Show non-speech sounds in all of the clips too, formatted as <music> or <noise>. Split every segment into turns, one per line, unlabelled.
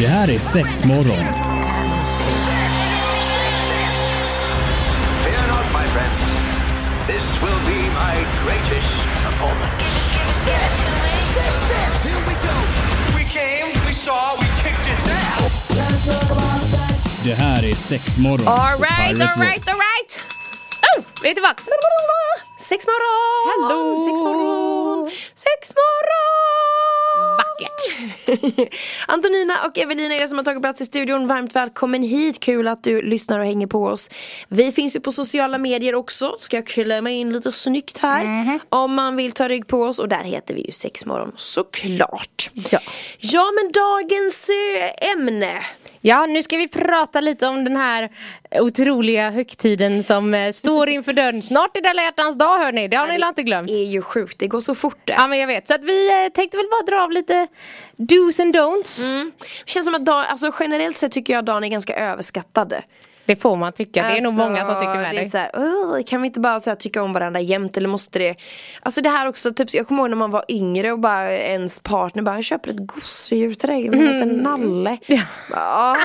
Det här är sex morgon.
Fear not, my friends. This will be my greatest performance.
Six, six, six.
We came, we saw, we kicked its ass.
Det här är sex morgon.
All right,
Pirate
all right, all right. Oh, vi är tillbaks.
Sex morgon!
Hallå!
Sex morgon! Sex morgon!
Vackert.
<laughs> Antonina och Evelina är det som har tagit plats i studion. Varmt välkommen hit. Kul att du lyssnar och hänger på oss. Vi finns ju på sociala medier också. Ska jag klämma in lite snyggt här.
Mhm.
Om man vill ta rygg på oss. Och där heter vi ju Sexmorgon såklart.
Ja.
ja men dagens eh, ämne.
Ja, nu ska vi prata lite om den här otroliga högtiden som eh, står inför dörren. <laughs> Snart är det alla hjärtans dag hörni, det har ni väl inte glömt?
är ju sjukt. Det går så fort det.
Ja men jag vet, så att vi eh, tänkte väl bara dra av lite do's and don'ts.
Mm. Känns som att dag, alltså generellt sett tycker jag att dagen är ganska överskattade.
Det får man tycka, det är nog
Alltså,
många som tycker med
det. Är
dig.
så här, "Åh, kan vi inte bara så här, tycka om varandra jämt eller måste det Alltså det här också, typ, jag kommer ihåg när man var yngre och bara ens partner bara "Jag köper ett gosedjur till dig med en
Mm.
liten nalle Ja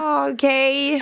ah, okej
<laughs>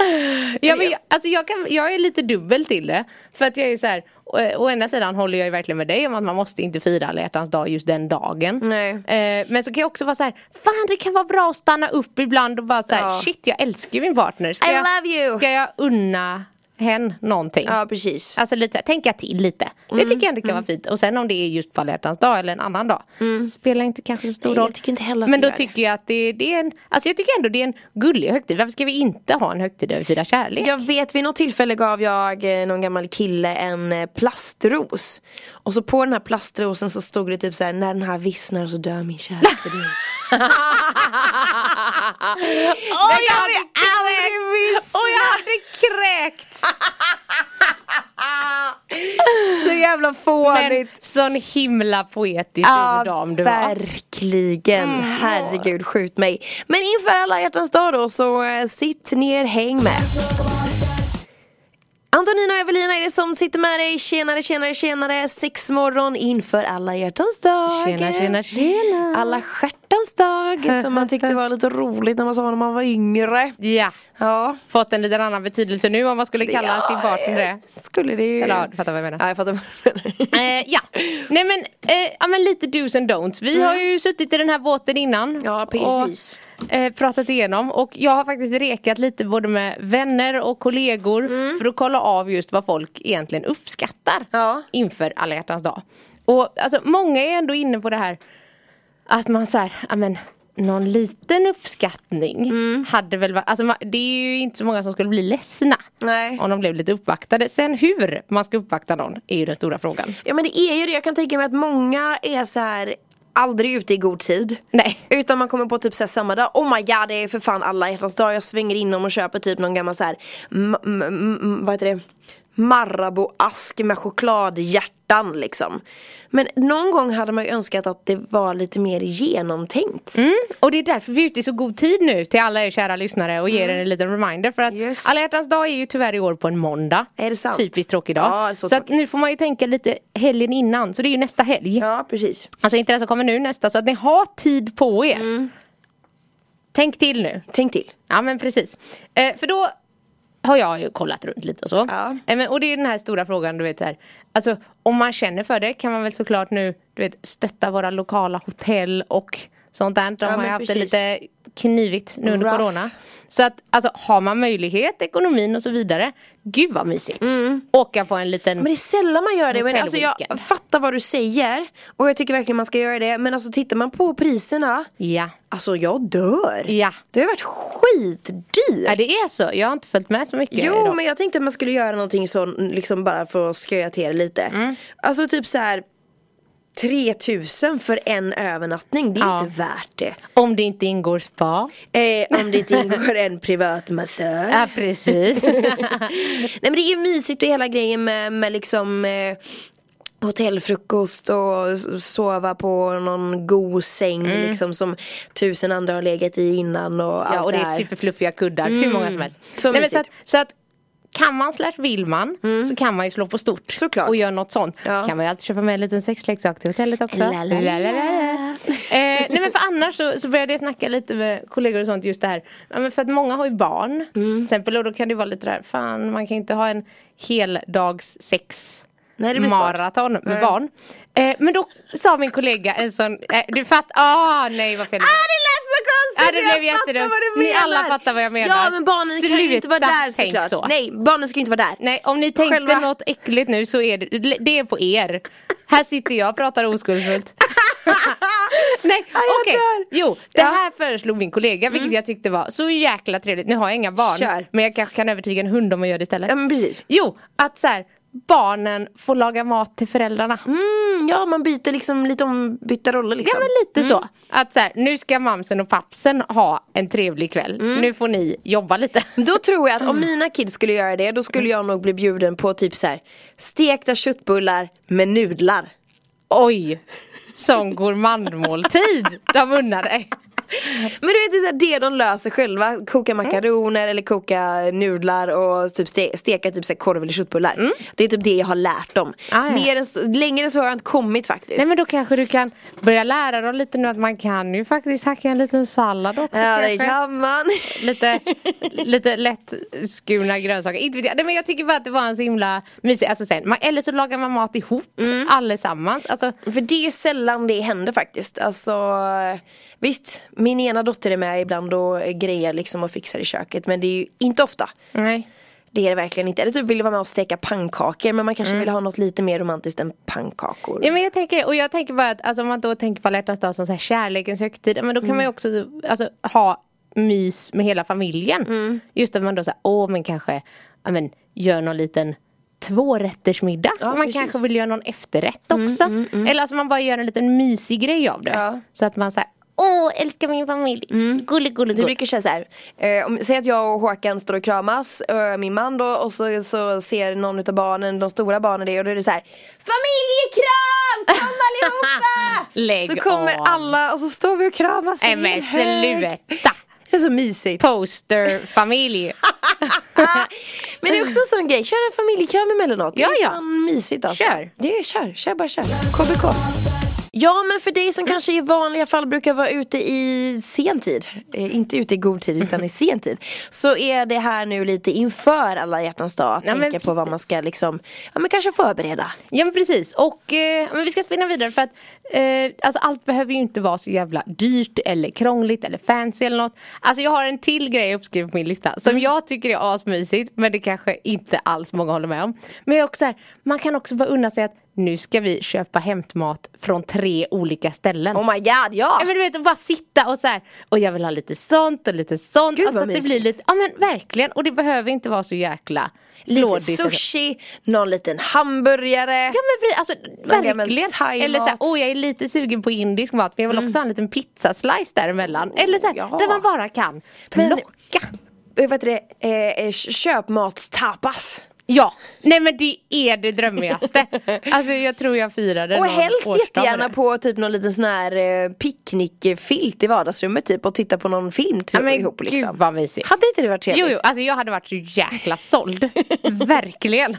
Ja, men jag, alltså jag, kan, jag är lite dubbel till det. För att jag är så här, å, å ena sidan håller jag ju verkligen med dig om att man måste inte fira alla hjärtans dag just den dagen.
Nej.
Eh, men så kan jag också vara så här, fan det kan vara bra att stanna upp ibland och bara så här,
Ja.
shit jag älskar min partner. Ska
I
jag,
love you.
Ska jag unna hen någonting?
Ja Mm, precis
Alltså lite så här, tänka till lite. Det tycker jag ändå kan vara fint. Och sen om det är just på alla hjärtans dag eller en annan dag. Spelar inte kanske så stor
Mm. Nej,
roll.
jag tycker inte heller att
Men
det
då
gör det.
tycker jag att det, det är en, alltså jag tycker ändå det är en gullig högtid. Varför ska vi inte ha en högtid där vi firar kärlek?
Jag vet vid något tillfälle gav jag eh, någon gammal kille en eh, plastros Och så på den här plastrosen så stod det typ så här: när den här vissnar så dör min kärlek
<laughs>
för dig
Oj,
Den kan vi aldrig
Oj, jag hade kräkts!
Så jävla fånigt
Men sån himla poetisk dam du var. Mm.
verkligen. Herregud, skjut mig. Men inför alla hjärtans dag då, så eh, sitt ner, häng med. Antonina och Evelina är det som sitter med dig. Tjenare, tjenare, tjenare. Sex morgon inför alla hjärtans dag.
Tjena, tjena, tjena.
Alla stjärtans dag som man tyckte var lite roligt när man sa när man var yngre.
Ja,
Ja,
fått en liten annan betydelse nu om man skulle kalla
Ja, eh,
sin partner det.
skulle det ju.
Eller ja, du fattar vad jag menar.
Ja, jag fattar vad du menar.
Eh, ja, nej men, eh, ja men lite do's and don'ts. Vi har ju suttit i den här båten innan.
Mm. Ja, precis.
Och, eh, pratat igenom och jag har faktiskt rekat lite både med vänner och kollegor
Mm.
för att kolla av just vad folk egentligen uppskattar
Ja.
inför alla hjärtans dag. Och alltså många är ändå inne på det här att man såhär, ja men någon liten uppskattning
Mm.
hade väl varit, alltså man- det är ju inte så många som skulle bli ledsna
Nej.
om de blev lite uppvaktade. Sen hur man ska uppvakta någon är ju den stora frågan.
Ja men det är ju det, jag kan tänka mig att många är så här aldrig ute i god tid.
Nej.
Utan man kommer på typ så här samma dag, oh my god det är för fan alla hjärtans dag, jag svänger inom och köper typ någon gammal så här, m- m- m- vad heter det, Marabou-ask med chokladhjärtan liksom. Men någon gång hade man ju önskat att det var lite mer genomtänkt.
Och det är därför vi är ute i så god tid nu till alla er kära lyssnare och ger er en liten reminder för att
Mm. Yes.
alla hjärtans dag är ju tyvärr i år på en måndag.
Är det sant?
Typiskt tråkig dag.
Ja, det är så
så att
tråkigt.
nu får man ju tänka lite helgen innan så det är ju nästa helg.
Ja precis.
Alltså inte den som kommer nu nästa så att ni har tid på er.
Mm.
Tänk till nu.
Tänk till.
Ja men precis. Eh, för då har jag ju kollat runt lite och så.
Ja.
Eh, men, och det är den här stora frågan du vet här. Alltså om man känner för det kan man väl såklart nu du vet, stötta våra lokala hotell och sånt där. De
Ja,
har ju
men
haft det
precis.
lite knivigt nu under
Rough.
corona. Så att alltså har man möjlighet, ekonomin och så vidare. Gud vad mysigt. Åka på en liten
Mm. Men det är sällan man gör det. Men alltså jag
Hotellweekend.
fattar vad du säger. Och jag tycker verkligen man ska göra det. Men alltså tittar man på priserna.
Ja.
Alltså jag dör!
Ja.
Det har varit skitdyrt!
ja, det är så. Jag har inte följt med så mycket.
Jo
idag.
men jag tänkte att man skulle göra någonting så liksom bara för att sköja till det lite
Mm.
Alltså typ så här 3000 för en övernattning, det är
Ja.
inte värt det
Om det inte ingår spa.
eh, Om det inte ingår en privat massör
Ja, precis.
Nej men det är ju mysigt och hela grejen med, med liksom eh, Hotellfrukost och s- sova på någon god säng liksom som tusen andra har legat i innan och
Mm. Ja
allt
och det
här. Mm.
är superfluffiga kuddar, hur många som helst.
så
Nej, men så, att,
mysigt.
så att kan man slash vill man så kan man ju slå på stort
Mm. Såklart.
och göra något sånt.
Ja.
kan man ju alltid köpa med en liten sexleksak till hotellet också.
La, la, la.
Eh, nej men för annars så, så började jag snacka lite med kollegor och sånt just det här. Ja, men för att många har ju
Mm.
barn. Till exempel och då kan det vara lite där, fan man kan ju inte ha en heldags sex
Nej, det blir svårt.
maraton med
Nej.
barn. Eh, men då sa min kollega en sån, eh, du fattar, ah nej vad fel.
Ah det lät så konstigt!
Ja, det blev
jag fattar
jättedumt.
vad du
Ni
menar!
alla fattar vad jag menar.
Ja men barnen kan ju inte vara
Sluta
där
tänk
såklart.
så.
Nej barnen ska ju inte vara där.
Nej om ni tänkte
Själva-
något äckligt nu så är det, det är på er. Här sitter jag och pratar
<laughs>
oskuldsfullt. Nej
Ja, jag
okej,
dör.
jo det
Ja. Mm.
här föreslog min kollega vilket jag tyckte var så jäkla trevligt. Nu har jag inga barn
Kör.
men jag kanske kan övertyga en hund om att göra det istället.
Ja men precis.
Jo, att så här, barnen får laga mat till föräldrarna.
Mm, ja man byter liksom lite ombytta roller
Ja
liksom.
men lite så. Mm. Att så här, nu ska mamsen och pappsen ha en trevlig kväll.
Mm.
Nu får ni jobba lite.
Då tror jag att om mina kids skulle göra det då skulle jag nog bli bjuden på typ så här stekta köttbullar med nudlar.
Oj! Som gourmandmåltid de unnar dig.
Men du vet det är så här, det de löser själva, koka
Mm.
makaroner eller koka nudlar och typ ste- steka typ så här korv eller köttbullar. Det är typ det jag har lärt dem.
Mm. Ah, ja.
Mer än så, längre än så har jag inte kommit faktiskt.
Nej men då kanske du kan börja lära dem lite nu att man kan ju faktiskt hacka en liten sallad också
ja det
kanske.
kan man.
<laughs> Lite, lite lätt skurna grönsaker. Inte vet jag. Nej, men jag tycker bara att det var en så himla mysig, alltså sen, man, eller så lagar man mat ihop
Mm.
allesammans. Alltså,
För det är ju sällan det händer faktiskt. Alltså, visst, min ena dotter är med ibland och grejer liksom och fixar i köket. Men det är ju inte ofta.
nej.
Det är det verkligen inte. Eller typ vill vara med och steka pannkakor. Men man kanske
Mm.
vill ha något lite mer romantiskt än pannkakor.
Ja, men jag tänker, och jag tänker bara att alltså, om man då tänker på alla hjärtans dag som så här, kärlekens högtid. ja, Men då kan
Mm.
man ju också alltså, ha mys med hela familjen.
Mm.
Just att man då säger, åh men kanske ja, men, gör någon liten tvårättersmiddag.
Ja,
och man
precis. Mm,
kanske vill göra någon efterrätt också. Eller alltså man bara gör en liten mysig grej av det.
Ja.
Så att man säger åh älskar min familj. Mm. Gullig, gullig,
Det
gullig.
brukar kännas så här. Eh, om, säg att jag och Håkan står och kramas, eh, min man då, och så, så ser någon utav barnen, de stora barnen det och då är det så här Familjekram! Kom allihopa!
<laughs> Lägg
så kommer
av.
alla och så står vi och kramas i
Nej
en
men
hög.
sluta!
Det är så mysigt.
Posterfamilj.
<laughs> Men det är också en sån grej, kör en familjekram emellanåt.
Ja,
det är
ja.
fan mysigt alltså.
Kör.
Det är, kör, kör bara kör. KBK. Ja men för dig som kanske i vanliga fall brukar vara ute i sen tid, eh, inte ute i god tid
<laughs>
utan i sen tid, så är det här nu lite inför alla hjärtans dag att
Ja, men
tänka på vad
precis.
man ska liksom, ja men kanske förbereda.
Ja men precis och eh, men vi ska spinna vidare för att eh, alltså allt behöver ju inte vara så jävla dyrt eller krångligt eller fancy eller något. Alltså jag har en till grej uppskriven på min lista som
Mm.
jag tycker är asmysigt men det kanske inte alls många håller med om. Men jag är också så här, man kan också bara unna sig att nu ska vi köpa hämtmat från tre olika ställen.
Oh my god, ja!
Ja, men du vet, och bara sitta och så här, och jag vill ha lite sånt och lite sånt.
Gud,
alltså
vad
att det blir
mysigt.
lite, ja men verkligen och det behöver inte vara så jäkla
Lite
flådigt och så.
sushi, någon liten hamburgare.
Ja men precis, alltså
gammal
verkligen.
thaimat.
Eller såhär, åh jag är lite sugen på indisk mat men jag vill också ha en liten pizzaslice däremellan. Eller såhär,
ja.
där man bara kan
Men-
plocka.
Eh, Vad heter det, eh, eh, köpmatstapas.
Ja, nej men det är det drömmigaste. alltså jag tror jag firade
Och
någon
helst
årsdag med
jättegärna
det.
på typ någon liten sån här eh, picknickfilt i vardagsrummet typ och titta på någon film till,
Ja, men
ihop liksom.
gud vad mysigt.
Hade inte det varit trevligt?
Jo, jo, alltså jag hade varit så jäkla <laughs> såld.
<laughs>
Verkligen.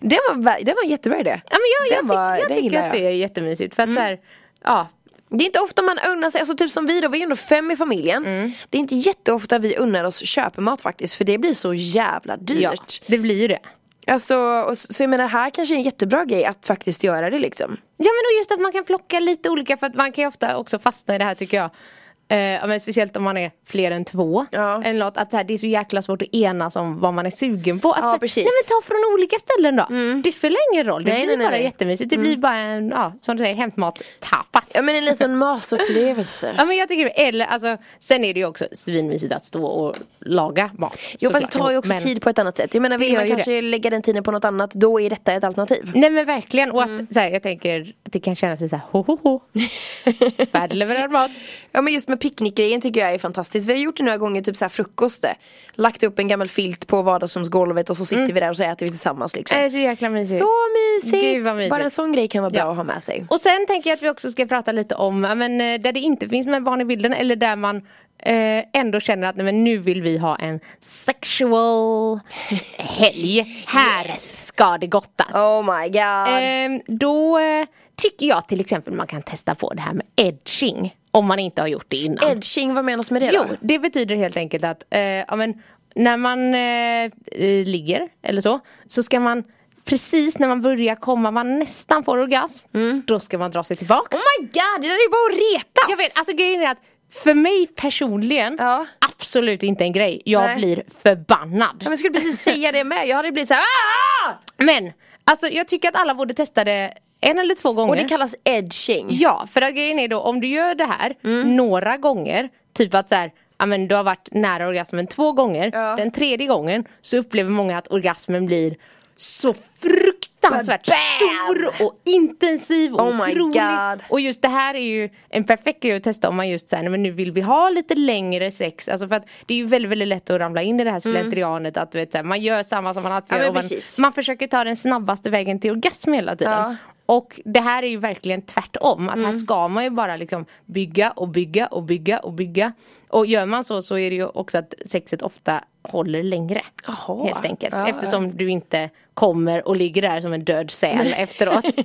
Den var, vä- den var en jättebra idé.
Ja, men jag, jag,
Den
tycker-
var-
jag Mm.
den
tycker
gillar
att det är jättemysigt. För att såhär, ja.
Det är inte ofta man unnar sig, alltså typ som vi då, vi är ändå fem i familjen.
Mm.
Det är inte jätteofta vi unnar oss köpemat faktiskt för det blir så jävla
ja,
dyrt.
det blir ju det.
Alltså, och så, så jag menar här kanske är en jättebra grej att faktiskt göra det liksom.
Ja men och just att man kan plocka lite olika för att man kan ju ofta också fastna i det här tycker jag. Eh, ja, men speciellt om man är fler än två.
Ja.
Eller något, att så här, det är så jäkla svårt att enas om vad man är sugen på. Att,
Ja,
så här,
precis. Mm.
Nej men ta från olika ställen då. Det spelar ingen roll. Det
Nej,
blir
nej, nej,
bara
nej. Mm.
jättemysigt. Det blir bara en, ja, som du säger, hämtmat-tapas.
Ja men en <laughs> liten matupplevelse.
Ja men jag tycker det. eller alltså sen är det ju också svinmysigt att stå och laga mat.
Jo fast
såklart.
det tar ju också
Men-
tid på ett annat sätt. Jag menar vill
gör
man
ju
kanske lägga den tiden på något annat då är detta ett alternativ.
<laughs> Nej men verkligen och att
Mm.
så här, jag tänker att det kan kännas lite såhär ho ho ho. Färdiglevererad
<laughs>
mat.
Ja men just med picknickgrejen tycker jag är fantastiskt. Vi har gjort det några gånger, typ så här frukost. Lagt upp en gammal filt på vardagsrumsgolvet och så sitter
Mm.
vi där och så äter vi tillsammans liksom.
Det är så jäkla mysigt.
Så mysigt!
Eh, Gud, vad mysigt.
Bara en sån grej kan vara bra
Ja.
att ha med sig.
Och sen tänker jag att vi också ska prata lite om ja, men, eh, där det inte finns med barn i bilden eller där man eh, ändå känner att nej, men nu vill vi ha en sexual helg. Här ska det gottas.
Oh my god.
Ehm, då eh, tycker jag till exempel man kan testa på det här med edging. Om man inte har gjort det innan.
Edging, vad menas med det
Jo,
då?
det betyder helt enkelt att eh, ja, men, när man eh, eh, ligger eller så, så ska man precis när man börjar komma, man nästan får orgasm, då ska man dra sig tillbaks.
Oh my god, det där är ju bara att retas!
Jag vet, alltså grejen är att för mig personligen,
Ja.
absolut inte en grej. Jag
Nej.
blir förbannad.
Ja, men jag skulle precis säga det med, jag hade blivit såhär ah!
Men, alltså jag tycker att alla borde testa det en eller två gånger.
Och det kallas edging.
Ja, för att grejen är då om du gör det här
Mm.
några gånger, typ att så här, ja, men du har varit nära orgasmen två gånger,
Ja.
den tredje gången så upplever många att orgasmen blir så fruktansvärt
Bam!
stor och intensiv och
Oh my
otrolig.
God.
Och just det här är ju en perfekt grej att testa om man just säger men nu vill vi ha lite längre sex. Alltså för att det är ju väldigt, väldigt lätt att ramla in i det här slentrianet att du vet, så här, man gör samma som man alltid
Mm. Ja,
gör
men
och man,
precis.
man försöker ta den snabbaste vägen till orgasm hela tiden.
Ja. Mm.
Och det här är ju verkligen tvärtom. Att Här ska man ju bara liksom bygga och bygga och bygga och bygga. Och gör man så så är det ju också att sexet ofta håller längre.
Jaha.
Helt enkelt.
Ja,
Eftersom du inte kommer och ligger där som en död säl
<laughs>
efteråt. <laughs>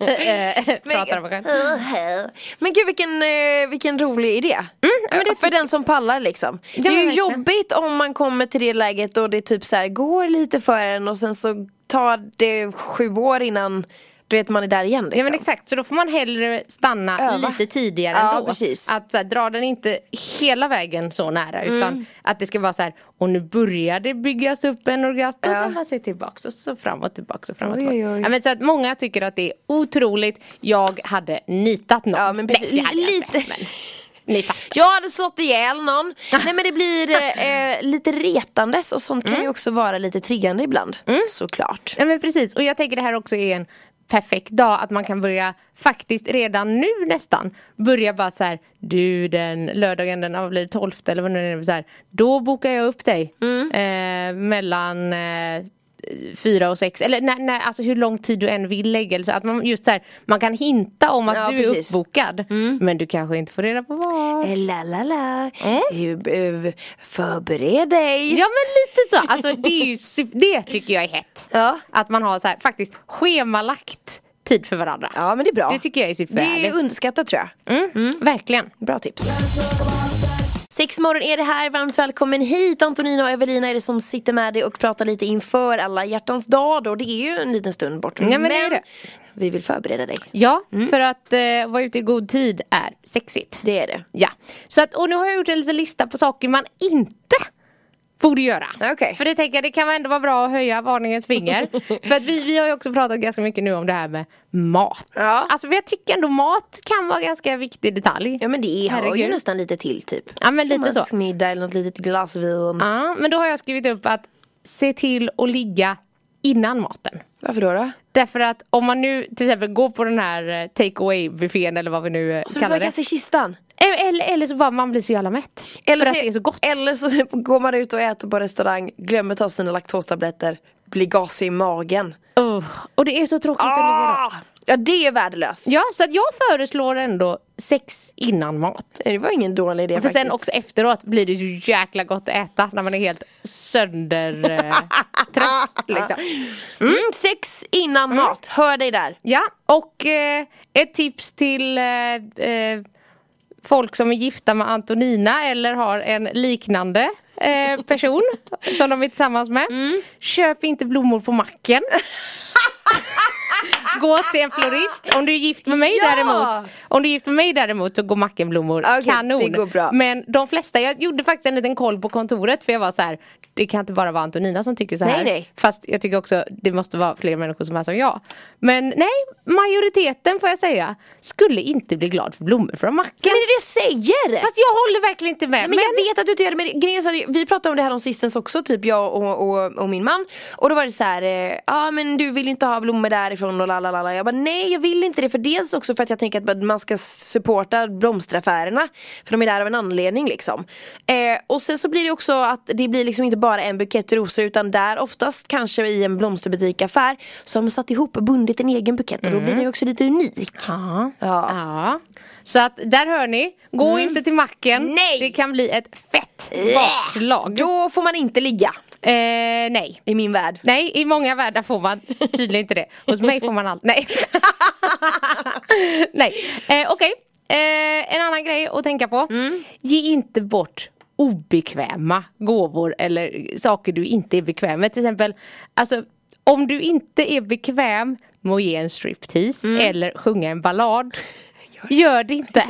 Eh, Pratar om mig själv.
Men gud vilken, eh, vilken rolig idé.
Mm, men det
För den som pallar liksom. det
men
är ju
verkligen.
jobbigt om man kommer till det läget och det typ så här går lite för en och sen så tar det sju år innan du vet man är där igen liksom.
Ja men exakt, så då får man hellre stanna
Öva.
lite tidigare
Ja,
ändå.
precis. Mm.
Att så här, dra den inte hela vägen så nära utan att det ska vara så här, och nu börjar det byggas upp en orgasm. Då tar man sig tillbaks och så fram och tillbaks och fram och
Oj,
tillbaks.
oj, oj.
Ja, men så att många tycker att det är otroligt, jag hade nitat någon.
Ja, men precis.
Nej, det hade jag
Lite.
inte, men ni fattar. Ah.
Jag hade slått ihjäl någon. Nej men det blir eh, eh, lite retandes och sånt kan ju också vara lite triggande ibland. Såklart.
Mm. Ja men precis och jag tänker det här också är en perfekt dag att man kan börja faktiskt redan nu nästan börja bara så här du den lördagen den ja, blir 12 eller vad nu är det så här då bokar jag upp dig
Mm.
eh, mellan eh, fyra och sex eller när, när, alltså hur lång tid du än vill lägga eller så att man just så här man kan hinta om att
Ja,
du
precis. Mm.
är uppbokad men du kanske inte får reda på vad
Eh, La la la, Eh, eh, förbered dig.
Mm. Ja men lite så, alltså det, är ju, su- det tycker jag är hett
Ja.
Att man har så här faktiskt schemalagt tid för varandra
Ja, men det är bra.
Det tycker jag är
Det är
superhärligt.
underskattat tror jag.
Mm, Verkligen.
Bra tips. Sexmorgon är det här, varmt välkommen hit. Antonina och Evelina är det som sitter med dig och pratar lite inför alla hjärtans dag då. Det är ju en liten stund bort.
Ja, men det är det.
vi vill förbereda dig.
Ja,
Mm.
för att eh, vara ute i god tid är sexigt.
Det är det.
Ja, så att, och nu har jag gjort en liten lista på saker man inte borde göra.
Okej.
För det tänker jag, det kan ändå vara bra att höja varningens
<laughs>
finger. för att vi, vi har ju också pratat ganska mycket nu om det här med mat.
Ja.
Alltså för jag tycker ändå mat kan vara en ganska viktig detalj.
Ja men det hör ju
Herregud.
nästan lite till typ.
Ja, men lite så.
Middag eller något litet glas vin.
Ja, men då har jag skrivit upp att se till att ligga innan maten.
Varför då? då?
Därför att om man nu till exempel går på den här eh, take away buffén eller vad vi nu eh,
Så du
kallar
bara
det.
kastar i kistan.
Eller, eller, eller så bara man blir så jävla mätt. för att det är så gott.
Eller så <laughs> går man ut och äter på restaurang, glömmer ta sina laktostabletter, blir gasig i magen.
Ugh, Uh. och det är så tråkigt att ligga då.
Ah! Ja det är värdelöst.
Ja, så att jag föreslår ändå sex innan mat.
Det var ingen dålig idé
För
faktiskt.
sen också efteråt blir det ju jäkla gott att äta när man är helt sönder eh,
<laughs>
trött liksom.
Mm. <laughs> Sex innan mat, hör dig där.
Ja, och eh, ett tips till eh, eh, folk som är gifta med Antonina eller har en liknande eh,
<laughs>
person som de är tillsammans med.
Mm.
Köp inte blommor på
<laughs>
macken. Gå till en florist. Om du är gift med mig
Ja!
däremot Om du är gift med mig däremot så går mackenblommor
Okej,
kanon.
det går bra.
Men de flesta, jag gjorde faktiskt en liten koll på kontoret för jag var så här. Det kan inte bara vara Antonina som tycker så här.
Nej, nej.
Fast jag tycker också det måste vara fler människor som är som jag. Men nej, majoriteten får jag säga skulle inte bli glad för blommor från macken.
Men det är det jag säger!
Fast jag håller verkligen inte med.
Nej, men, jag vet att du inte gör det, men grejen är så här, vi pratade om det här om sistens också, typ jag och, och, och min man Och då var det så här, eh, ja men du vill ju inte ha blommor därifrån och la la la la. Jag bara nej jag vill inte det för dels också för att jag tänker att man ska supporta blomsteraffärerna För de är där av en anledning liksom eh, Och sen så blir det också att det blir liksom inte bara en bukett rosor utan där oftast kanske i en blomsterbutikaffär Så har man satt ihop och bundit en egen bukett och då blir det också lite unik
Ja.
Mm. Ja. Mm.
ja. Så att där hör ni, gå inte till macken.
Nej!
Det kan bli ett fett bakslag.
Då får man inte ligga
Eh, nej.
i min värld
Nej, i många världar får man tydligen inte det. Hos mig får man allt. Nej,
<laughs>
Nej. Eh, okej. Eh, en annan grej att tänka på.
Mm.
Ge inte bort obekväma gåvor eller saker du inte är bekväm med. Till exempel, alltså, om du inte är bekväm med att ge en striptease
Mm.
eller sjunga en
<laughs>
ballad Gör det inte!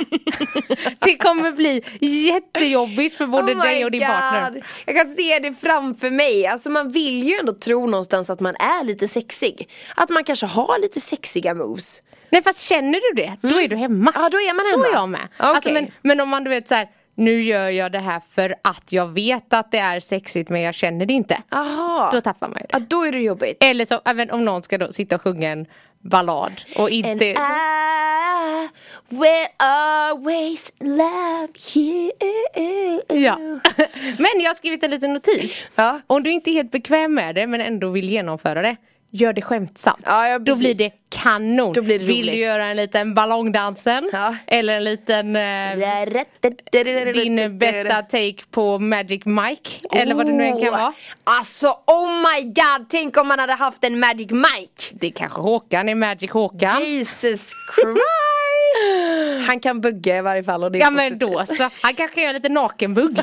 det kommer bli jättejobbigt för både
Oh my
dig och din partner.
God. Jag kan se det framför mig. Alltså man vill ju ändå tro någonstans att man är lite sexig. Att man kanske har lite sexiga moves.
Nej fast känner du det, då är du hemma.
Mm. Ja, då är man hemma.
Så är jag med.
Okej.
Alltså, men, men om man du vet så här, nu gör jag det här för att jag vet att det är sexigt men jag känner det inte.
Jaha.
Då tappar man ju det.
Ja, då är det jobbigt.
Eller så, även om någon ska då sitta och sjunga en ballad och
And
inte...
I will always love you.
Ja. <laughs> men jag har skrivit en liten notis.
Ja.
Om du inte är helt bekväm med det men ändå vill genomföra det Gör det skämtsamt.
Ja, ja,
Då blir
precis.
det kanon.
Då blir det
vill du
roligt.
göra en liten ballongdansen?
Ja.
Eller en liten... eh, din bästa take på Magic Mike eller vad det nu än kan vara.
Oh. Alltså oh my god, tänk om man hade haft en Magic Mike!
Det kanske Håkan är Magic Håkan.
Jesus Christ! Han kan bugga i varje fall och det är
Ja men
positivt.
då så, han kanske gör lite nakenbugg.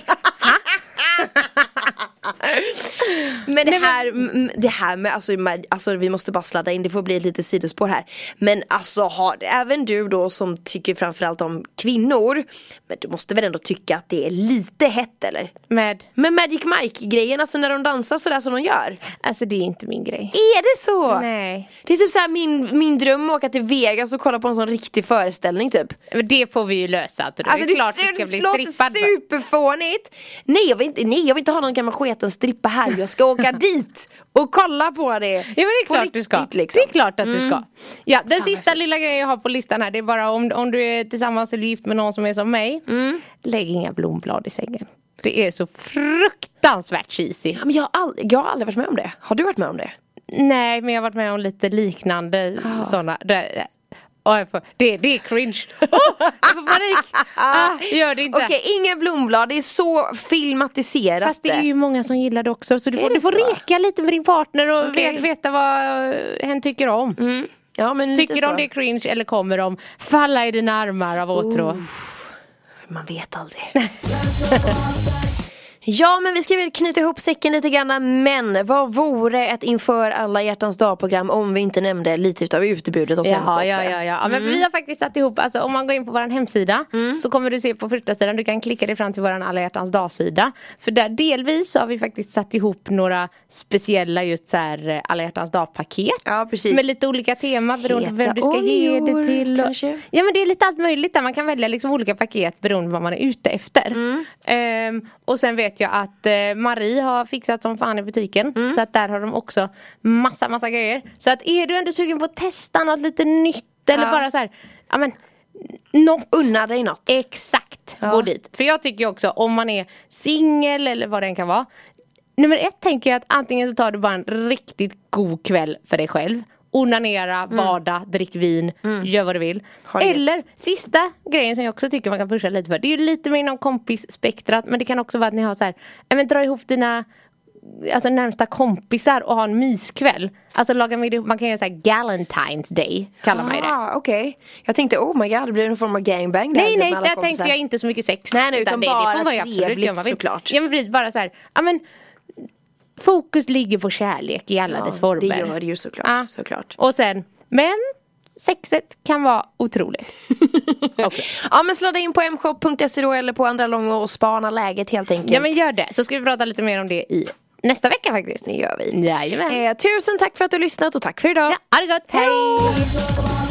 Men det här, mm, det här med, alltså, med, alltså vi måste bara sladda in, det får bli ett litet sidospår här Men alltså har, även du då som tycker framförallt om kvinnor Men du måste väl ändå tycka att det är lite hett eller?
Med,
Men Magic Mike grejen, alltså när de dansar sådär som de gör
alltså det är inte min grej.
Är det så?
Nej.
Det är typ såhär min, min dröm att åka till Vegas och kolla på en sån riktig föreställning typ
Men Det får vi ju lösa. Alltså, det är klart
ser-
det ska bli
låter
strippad.
superfånigt! Nej jag, vill inte, nej jag vill inte ha någon gammal sketen strippa här, jag
<laughs>
ska åka dit och kolla på det! Ja
Ja men det är klart du ska.
Liksom.
Det är klart att du ska. Ja, den sista
fint.
lilla grejen jag har på listan här det är bara om, om du är tillsammans eller gift med någon som är som mig. Lägg inga blomblad i sängen. Det är så fruktansvärt cheesy.
Ja, men jag, har aldrig, jag har aldrig varit med om det, har du varit med om det?
Nej men jag har varit med om lite liknande sådana. Det, åh, jag får, det, det är cringe. Oh, jag får panik. <laughs> Ah, gör det inte.
Okej, inga blomblad, det är så filmatiserat
Fast det är ju många som gillar det också så du
Är
får,
det
du får
så?
reka lite med din partner och
Okej.
ve- veta vad eh, hen tycker om.
ja, men lite
Tycker de
så.
det är cringe eller kommer de falla i dina armar av åtrå?
Man vet aldrig <laughs> Ja men vi ska väl knyta ihop säcken lite grann men vad vore ett inför alla hjärtans dag program om vi inte nämnde lite utav utbudet och sen
Jaha,
fått
ja,
det?
ja, ja. ja men Vi har faktiskt satt ihop, alltså, om man går in på vår hemsida så kommer du se på första sidan, du kan klicka dig fram till vår alla hjärtans dag-sida. För där delvis så har vi faktiskt satt ihop några speciella just så här eh, alla hjärtans dag-paket.
Ja, precis.
Med lite olika teman beroende på vem
Heta
du ska ge det
oljor,
till. Och...
kanske?
Ja men det är lite allt möjligt där, man kan välja liksom olika paket beroende på vad man är ute efter.
Mm.
Ehm, och sen vet jag att eh, Marie har fixat som fan i butiken
Mm.
så att där har de också massa massa grejer. Så att är du ändå sugen på att testa något lite nytt eller
Ja.
bara så här, ja men något
Unna dig något
Exakt, gå dit. För jag tycker ju också om man är singel eller vad det än kan vara. Nummer ett tänker jag att antingen så tar du bara en riktigt god kväll för dig själv. Onanera, bada, drick vin, gör vad du vill.
Mm. Ha det gött.
Eller sista grejen som jag också tycker man kan pusha lite för. Det är ju lite mer inom kompisspektrat men det kan också vara att ni har så här, ja, men dra ihop dina Alltså närmsta kompisar och ha en myskväll Alltså laga middag, man kan göra såhär Galentine's day Kallar man ju det
Ah, okej. Jag tänkte oh my god, det blir en form av gangbang typ
Nej nej, där tänkte jag inte så mycket sex.
Nej, nej, utan
det- det får
bara
man ju absolut göra
trevligt,
vad man vill.
såklart.
Ja men precis, bara så här, ja men Fokus ligger på kärlek i alla
Ja,
dess former.
det gör det ju såklart,
Ja.
såklart.
Och sen, men sexet kan vara
<laughs>
otroligt. Också.
Ja men sladda in på mshop.se då eller på andra långor och spana läget helt enkelt.
Ja men gör det, så ska vi prata lite mer om det i nästa vecka faktiskt. Eh,
det gör vi.
Jajamän.
Eh, tusen tack för att du har lyssnat och tack för idag.
Ja, ha det gott, hej!
Talk about